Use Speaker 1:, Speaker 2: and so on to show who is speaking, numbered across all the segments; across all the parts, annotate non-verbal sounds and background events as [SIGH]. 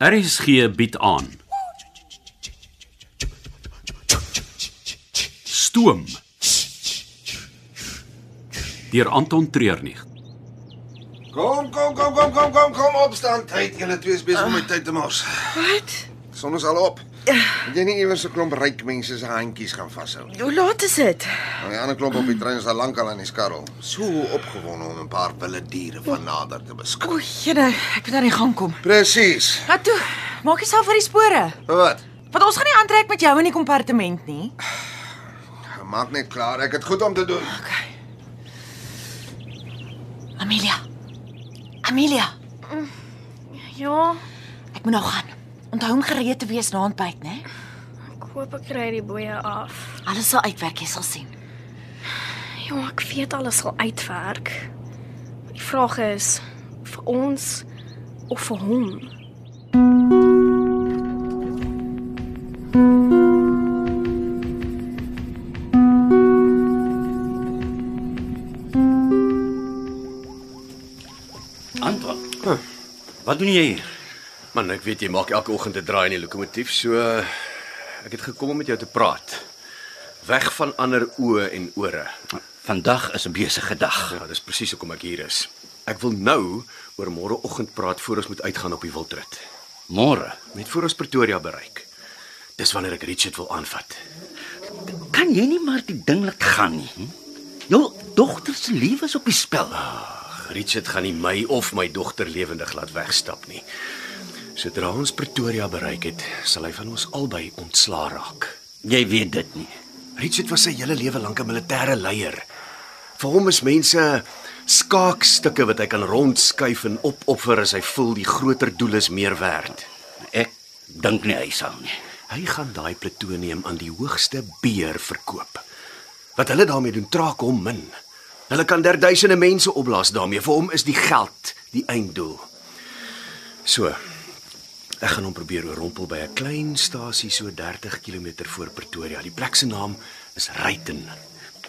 Speaker 1: RSG bied aan. Stoom. Deur Anton Treurnig.
Speaker 2: Kom, kom, kom, kom, kom, kom, kom opstaan. Tyd, julle twee is besig om my tyd te mors.
Speaker 3: Wat?
Speaker 2: Son is al op. Moet jy nie iewers so klomp ryk mense se handjies gaan vashou nie.
Speaker 3: Hoe laat is dit?
Speaker 2: Die ander klomp op die trein is al lank al aan die skarrel. So opgewonde om 'n paar wilde diere van nader te
Speaker 3: O,
Speaker 2: beskou.
Speaker 3: jene, ek moet aan die gang kom.
Speaker 2: Presies.
Speaker 3: Wat toe? Maak jouself vir die spore.
Speaker 2: Wat?
Speaker 3: Want ons gaan nie aantrek met jou in die kompartement nie.
Speaker 2: Maak net klaar. Ek het goed om te doen.
Speaker 3: Okay. Amelia. Amelia,
Speaker 4: Ja,
Speaker 3: ek moet nou gaan. Onthou om gereed te wees na ontbyt, né?
Speaker 4: ek hoop ek kry die boeye af.
Speaker 3: Alles sal uitwerk, jy sal sien.
Speaker 4: Ja, ek weet alles sal uitwerk. Die vraag is vir ons of vir hom.
Speaker 5: Anton. Wat doen jy hier?
Speaker 6: Man, ek weet jy maak elke oggend 'n draai in die lokomotief, so eh, ek het gekom om met jou te praat. Weg van ander oë en ore.
Speaker 5: Vandag is 'n besige dag.
Speaker 6: Ja, dis presies hoekom ek hier is. Ek wil nou oor môreoggend praat voor ons moet uitgaan op die wildrit.
Speaker 5: Môre.
Speaker 6: Net voor ons Pretoria bereik. Dis wanneer ek Richard wil aanvat.
Speaker 5: Kan jy nie maar die ding laat gaan nie? Hm? Jou dogter se lewe is op die spel.
Speaker 6: Richard gaan nie my of my dogter lewendig laat wegstap nie. Sodra ons Pretoria bereik het, sal hy van ons albei ontslaa raak.
Speaker 5: Jy weet dit nie.
Speaker 6: Richard was sy hele lewe lank 'n militêre leier. Vir hom is mense skaakstukke wat hy kan rondskuif en opoffer as hy voel die groter doel is meer werd.
Speaker 5: Ek dink nie hy sal nie.
Speaker 6: Hy gaan daai plutonium aan die hoogste beer verkoop. Wat hulle daarmee doen, traak hom min. Hulle kan der duisende mense opblaas daarmee. Vir hom is die geld die einddoel. So, ek gaan hom probeer oorrompel by 'n klein stasie so 30 km voor Pretoria. Die plek se naam is Ryten.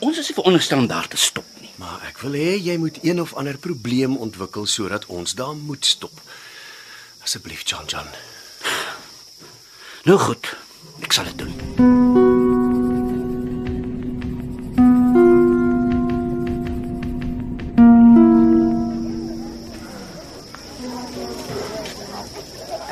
Speaker 5: Ons is nie veronderstel om daar te stop nie.
Speaker 6: Maar ek wil hê jy moet een of ander probleem ontwikkel sodat ons daar moet stop. Asseblief, Jan Jan.
Speaker 5: Nou goed, ek sal dit doen.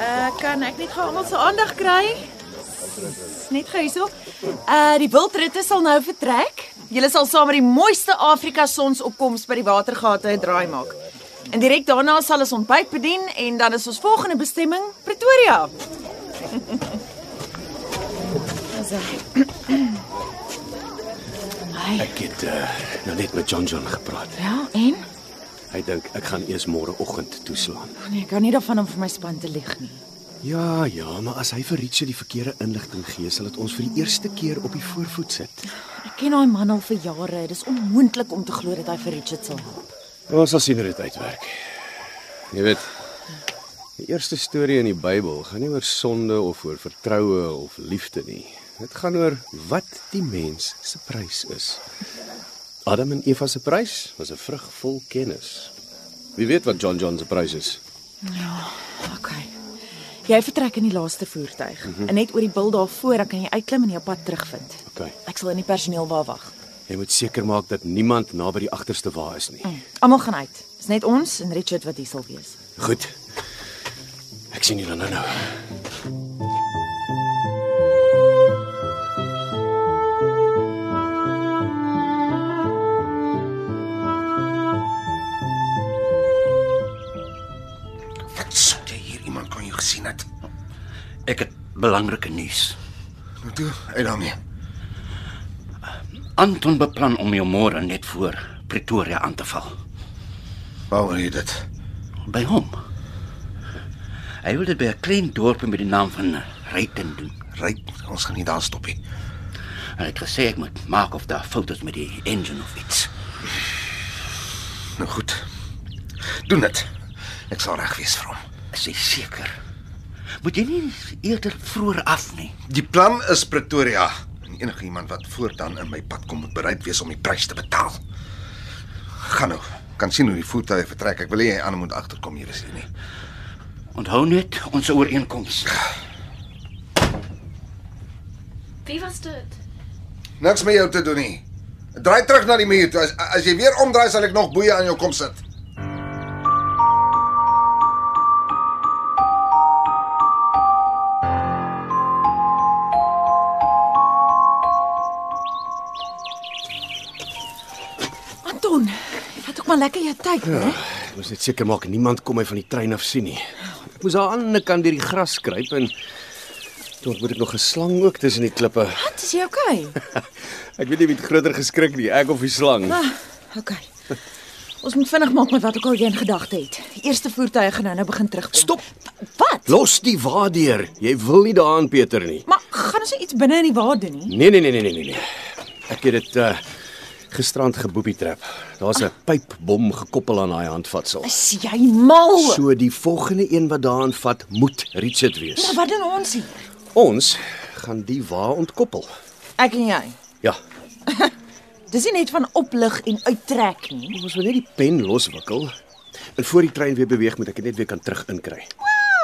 Speaker 7: Uh, kan ek net gou almal se aandag kry? S- Net gou hierso. Uh die wildritte sal nou vertrek. Julle sal saam met die mooiste Afrika sonsopkoms by die watergate 'n draai maak. En direk daarna sal ons ontbyt bedien en dan is ons volgende bestemming [COUGHS] Pretoria.
Speaker 6: Ek het uh, nou net met Jan Jan gepraat.
Speaker 7: Ja, en?
Speaker 6: Hy dink ek gaan eers môreoggend toeslaan.
Speaker 7: Nee, ek hou nie daarvan om vir my span te lieg nie.
Speaker 6: Ja, ja, maar as hy vir Richie die verkeerde inligting gee, sal dit ons vir die eerste keer op die voorvoet sit.
Speaker 7: Ek ken daai man al vir jare. Dis onmoontlik om te glo dat hy vir Richard sal help.
Speaker 6: Ons sal sien hoe dit uitwerk. Jy weet, die eerste storie in die Bybel gaan nie oor sonde of oor vertroue of liefde nie. Dit gaan oor wat die mens se prys is. Adam en Eva se prys was 'n vrug vol kennis. Wie weet wat John John se prys is?
Speaker 7: Okay. Jy vertrek in die laaste voertuig. Mm -hmm. En net oor die bil daarvoor, dan kan jy uitklim en jou pad terugvind.
Speaker 6: Mhm. OK.
Speaker 7: Ek sal in die personeel waar wag.
Speaker 6: Jy moet seker maak dat niemand naby die agterste wa is nie.
Speaker 7: Almal gaan uit. Dis net ons en Richard wat hier sal wees.
Speaker 6: Goed. Ek sien julle nou-nou.
Speaker 2: Wat soek jy hier? Iemand kon jou gesien het.
Speaker 5: Ek het belangrike nuus.
Speaker 2: Nou toe, uit daarmee.
Speaker 5: Anton beplan om jou môre net voor Pretoria aan te val
Speaker 2: Waar wil jy dit?
Speaker 5: by hom. Hy wil dit by 'n klein dorpie met die naam van Ryten doen.
Speaker 2: Ryk, ons gaan nie daar stop nie.
Speaker 5: Hy het gesê ek moet maak of daar foute is met die engine of iets.
Speaker 2: Nou goed. Doen dit. Ek sal reg wees vir hom.
Speaker 5: Is jy seker? Moet jy nie eerder vroeër af nie.
Speaker 2: Die plan is Pretoria. En enige iemand wat voortaan in my pad kom moet bereid wees om die prys te betaal. Gaan nou. Kan sien hoe die voertuie vertrek. Ek wil nie hy aan moet agterkom hier is hier nie.
Speaker 5: Onthou net ons ooreenkoms.
Speaker 4: Wie was dit?
Speaker 2: Niks met jou te doen nie. Draai terug na die muur toe. As, as jy weer omdraai sal ek nog boeie aan jou kom sit.
Speaker 7: Anton, vat ook maar lekker jou tyd,
Speaker 6: Ja.
Speaker 7: né?
Speaker 6: Ek moes net seker maak niemand kom my van die trein af sien nie. Ek moes daar aan die ander kant deur die gras kruip en toe moet ek nog 'n slang ook tussen die klippe.
Speaker 7: Wat is jy
Speaker 6: [LAUGHS]
Speaker 7: okay?
Speaker 6: Ek weet nie wie het groter geskrik nie, ek of die slang.
Speaker 7: Ah, okay. Ons moet vinnig maak met wat ook al jy in gedagte het. Die eerste voertuie gaan nou nou begin terugkom.
Speaker 6: Stop.
Speaker 7: Wa- Wat?
Speaker 6: Los die wa deur. Jy wil nie daaraan Pieter nie.
Speaker 7: Maar gaan ons nie iets binne in die wa doen nie?
Speaker 6: Nee nee nee nee nee nee, nee. Ek het dit uh gisterand geboepie trap. Daar's 'n pypbom gekoppel aan daai handvatsel.
Speaker 7: Is jy mal?
Speaker 6: So die volgende een wat daaraan vat, moet Richard
Speaker 7: Maar
Speaker 6: wees.
Speaker 7: wat doen ons hier?
Speaker 6: Ons gaan die wa ontkoppel.
Speaker 7: Ek en jy.
Speaker 6: Ja,
Speaker 7: Dis nie net van oplig en uittrek nie.
Speaker 6: ons wil net die pen loswikkel. En voor die trein weer beweeg moet ek dit net weer kan terug inkry.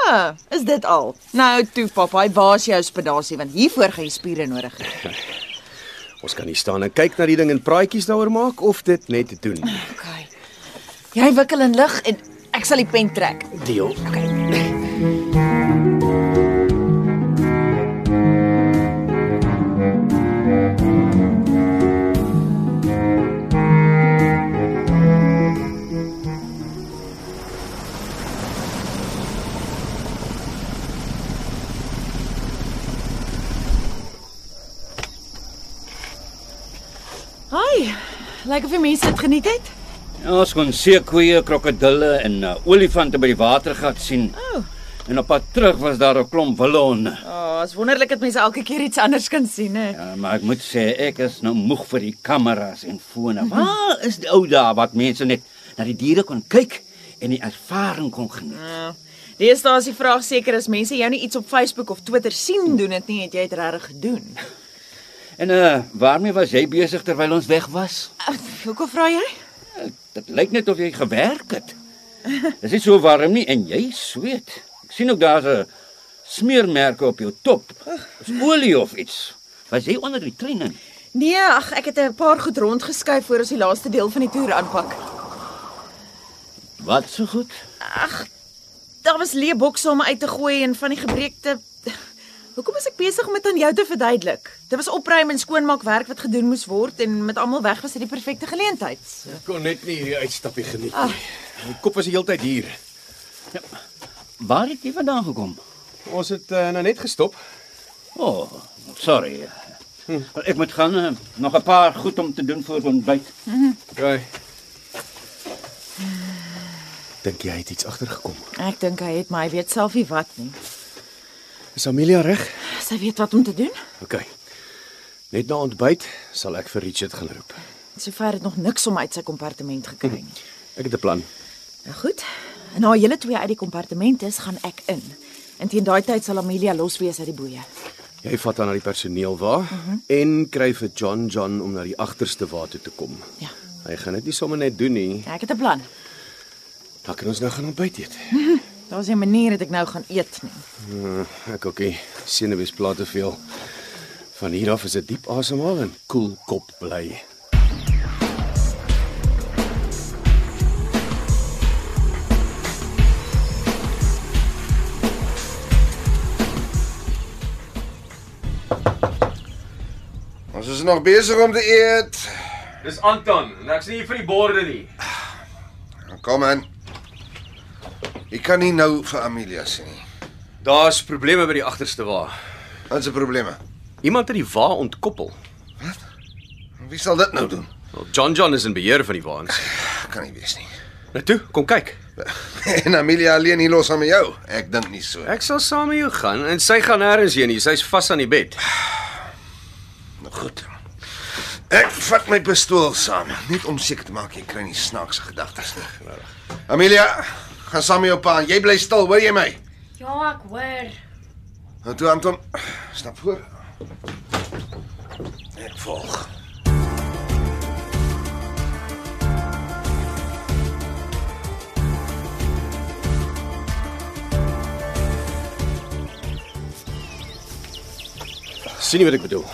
Speaker 7: Ah, is dit al? Nou toe, pap, hy waar's jou spinasie want hiervoor gaan jy spiere nodig hê.
Speaker 6: Ons kan nie staan en kyk na die ding en praatjies daaroor maak of dit net doen.
Speaker 7: Okay. Jy wikkel in lig en ek sal die pen trek.
Speaker 6: Deel.
Speaker 7: [LAUGHS] Hi. Lyk of die mense dit geniet het.
Speaker 5: Ja, ons kon seekoeie, krokodille en uh, olifante by die watergat sien.
Speaker 7: O.
Speaker 5: En op pad terug was daar 'n klomp wilde honde.
Speaker 7: Ja, oh, is wonderlik dat mense elke keer iets anders kan sien, hè.
Speaker 5: Ja, Eh, maar ek moet sê ek is nou moeg vir die kameras en fone. Waar is die ou dae wat mense net na die diere kon kyk en die ervaring kon geniet?
Speaker 7: Ja. Deesdae is die vraag seker as mense jou nie iets op Facebook of Twitter sien doen dit nie, het jy dit regtig gedoen.
Speaker 5: En uh waarmee was jy besig terwyl ons weg was?
Speaker 7: Uh, hoekom vra jy?
Speaker 5: Dit lyk net of jy gewerk het. [LAUGHS] Dis nie so warm nie en jy sweet. Ek sien ook daar's 'n smeermerke op jou top. Is olie of iets? Was jy onder die trein in?
Speaker 7: Nee, ag, ek het 'n paar goed rondgeskuif voor ons die laaste deel van die toer aanpak.
Speaker 5: Wat so goed?
Speaker 7: Daar was leë bokse om uit te gooi en van die gebreekte [LAUGHS] Hoekom is ek besig om dit aan jou te verduidelik? Dit was opruim en skoonmaakwerk wat gedoen moes word en met almal weg was dit die perfekte geleentheid.
Speaker 6: Ek kon net nie hierdie uitstappie geniet nie. My kop was die hele tyd hier.
Speaker 5: Waar het jy vandaan gekom?
Speaker 6: Ons het uh, nou net gestop.
Speaker 5: O, oh, sorry. Maar Ek moet gaan eh, nog 'n paar goed om te doen voor ontbyt.
Speaker 6: Okay. Dink jy hy het iets agtergekom?
Speaker 7: Ek dink hy het my weet self nie wat nie.
Speaker 6: Is Amelia reg?
Speaker 7: Sy weet wat om te doen.
Speaker 6: Okay. Net na ontbyt sal ek vir Richard gaan roep.
Speaker 7: Sover het nog niks om uit sy kompartement gekry nie.
Speaker 6: Ek het 'n plan.
Speaker 7: Nou goed. En na julle twee uit die kompartement is, gaan ek in. En teen daai tyd sal Amelia los wees uit die boeye.
Speaker 6: Jy vat aan na die personeel waar mm -hmm. en kry vir John John om na die agterste water toe te kom.
Speaker 7: Ja.
Speaker 6: Hy gaan dit nie sommer net doen nie.
Speaker 7: Ek het 'n plan.
Speaker 6: Dan kan ons nou gaan ontbyt eet.
Speaker 7: Daar's 'n manier dat ek nou gaan eet nie.
Speaker 6: Ek ook nie. Senuwees pla te veel. Van hier af is dit diep asemhaal en koel cool kop bly.
Speaker 2: Ons is nog besig om te eet.
Speaker 8: Dis Anton en ek's nie hier vir die borde nie.
Speaker 2: Kom in. Ek kan nie nou vir Amelia sien nie.
Speaker 6: Daar's probleme by die agterste wa.
Speaker 2: Wat se probleme?
Speaker 6: Iemand het die wa ontkoppel.
Speaker 2: Wie sal dit nou doen?
Speaker 6: Wel, John John is in beheer van die waans.
Speaker 2: Kan nie wees nie. [LAUGHS]
Speaker 6: Nou toe, kom kyk.
Speaker 2: en Amelia alleen hier los aan met jou. Ek dink nie so.
Speaker 6: Ek sal saam met jou gaan en sy gaan nêrens heen nie. Sy's vas aan die bed.
Speaker 2: Nou goed. Ek vat my pistool saam, net om seker te maak jy kry nie snaakse gedagtes nie. Amelia, gaan saam met jou pa en jy bly stil, hoor jy my?
Speaker 4: Ja, ek hoor.
Speaker 2: Nou toe Anton, stap voor. Ek volg.
Speaker 6: Sien jy wat ek bedoel?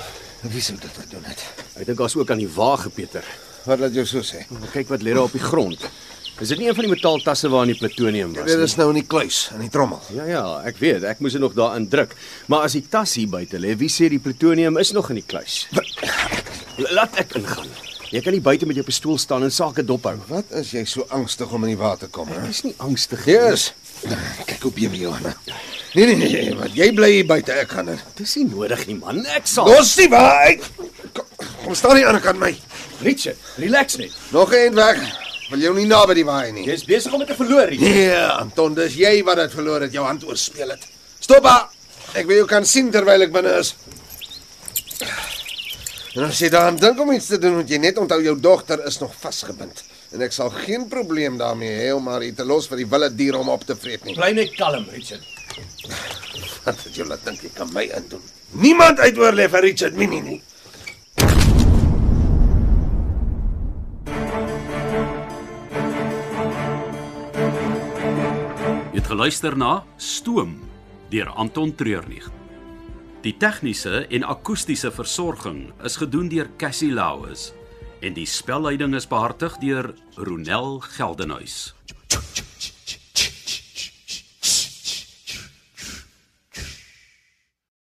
Speaker 2: Wie sou dit gedoen het?
Speaker 6: Ek dink daar's ook aan die wa gepeter.
Speaker 2: Wat laat jou so sê?
Speaker 6: Kyk wat lê daar op die grond. Is dit nie een van die metaaltasse waarin die plutonium was
Speaker 2: Dit
Speaker 6: nie?
Speaker 2: is nou in die kluis, in die trommel.
Speaker 6: Ja ja, ek weet, ek moes dit nog daarin druk. Maar as die tas hier buite lê, wie sê die plutonium is nog in die kluis? Laat ek ingaan. Jy kan nie buite met jou pistool staan en sake dop hou.
Speaker 2: Wat is jy so angstig om in die water te kom, hè?
Speaker 6: Dis nie angstig nie.
Speaker 2: Jesus. Kyk op hom, Johanna. Nee nee nee, wat jy bly hier buite, ek gaan in.
Speaker 6: Dis nie nodig nie man. Ek sal.
Speaker 2: Los die waarheid. Kom, kom staan hier aan die kant my.
Speaker 6: Richard, relax net.
Speaker 2: Nog een weg. Wil jou nie naby die waai nie.
Speaker 6: Jy's besig om dit te verloor hier.
Speaker 2: Nee, Anton, dis jy wat dit verloor het, jou hand oorspeel het. Stop ah. haar. Ek wil jou kan sien terwyl ek binne is. En as jy daaraan dink om iets te doen, moet jy net onthou jou dogter is nog vasgebind. En ek sal geen probleem daarmee hê om haar hier te los vir die wilde dier om op te vreet nie.
Speaker 6: Bly net kalm, Richard.
Speaker 2: Wat het jy laat dink jy kan my indoen? Niemand uitoorlê vir Richard Minnie nie.
Speaker 1: Jy het geluister na Stoom deur Anton Treurnig. Die tegniese en akoestiese versorging is gedoen deur Cassie Lauis en die spelleiding is behartig deur Ronel Geldenhuys.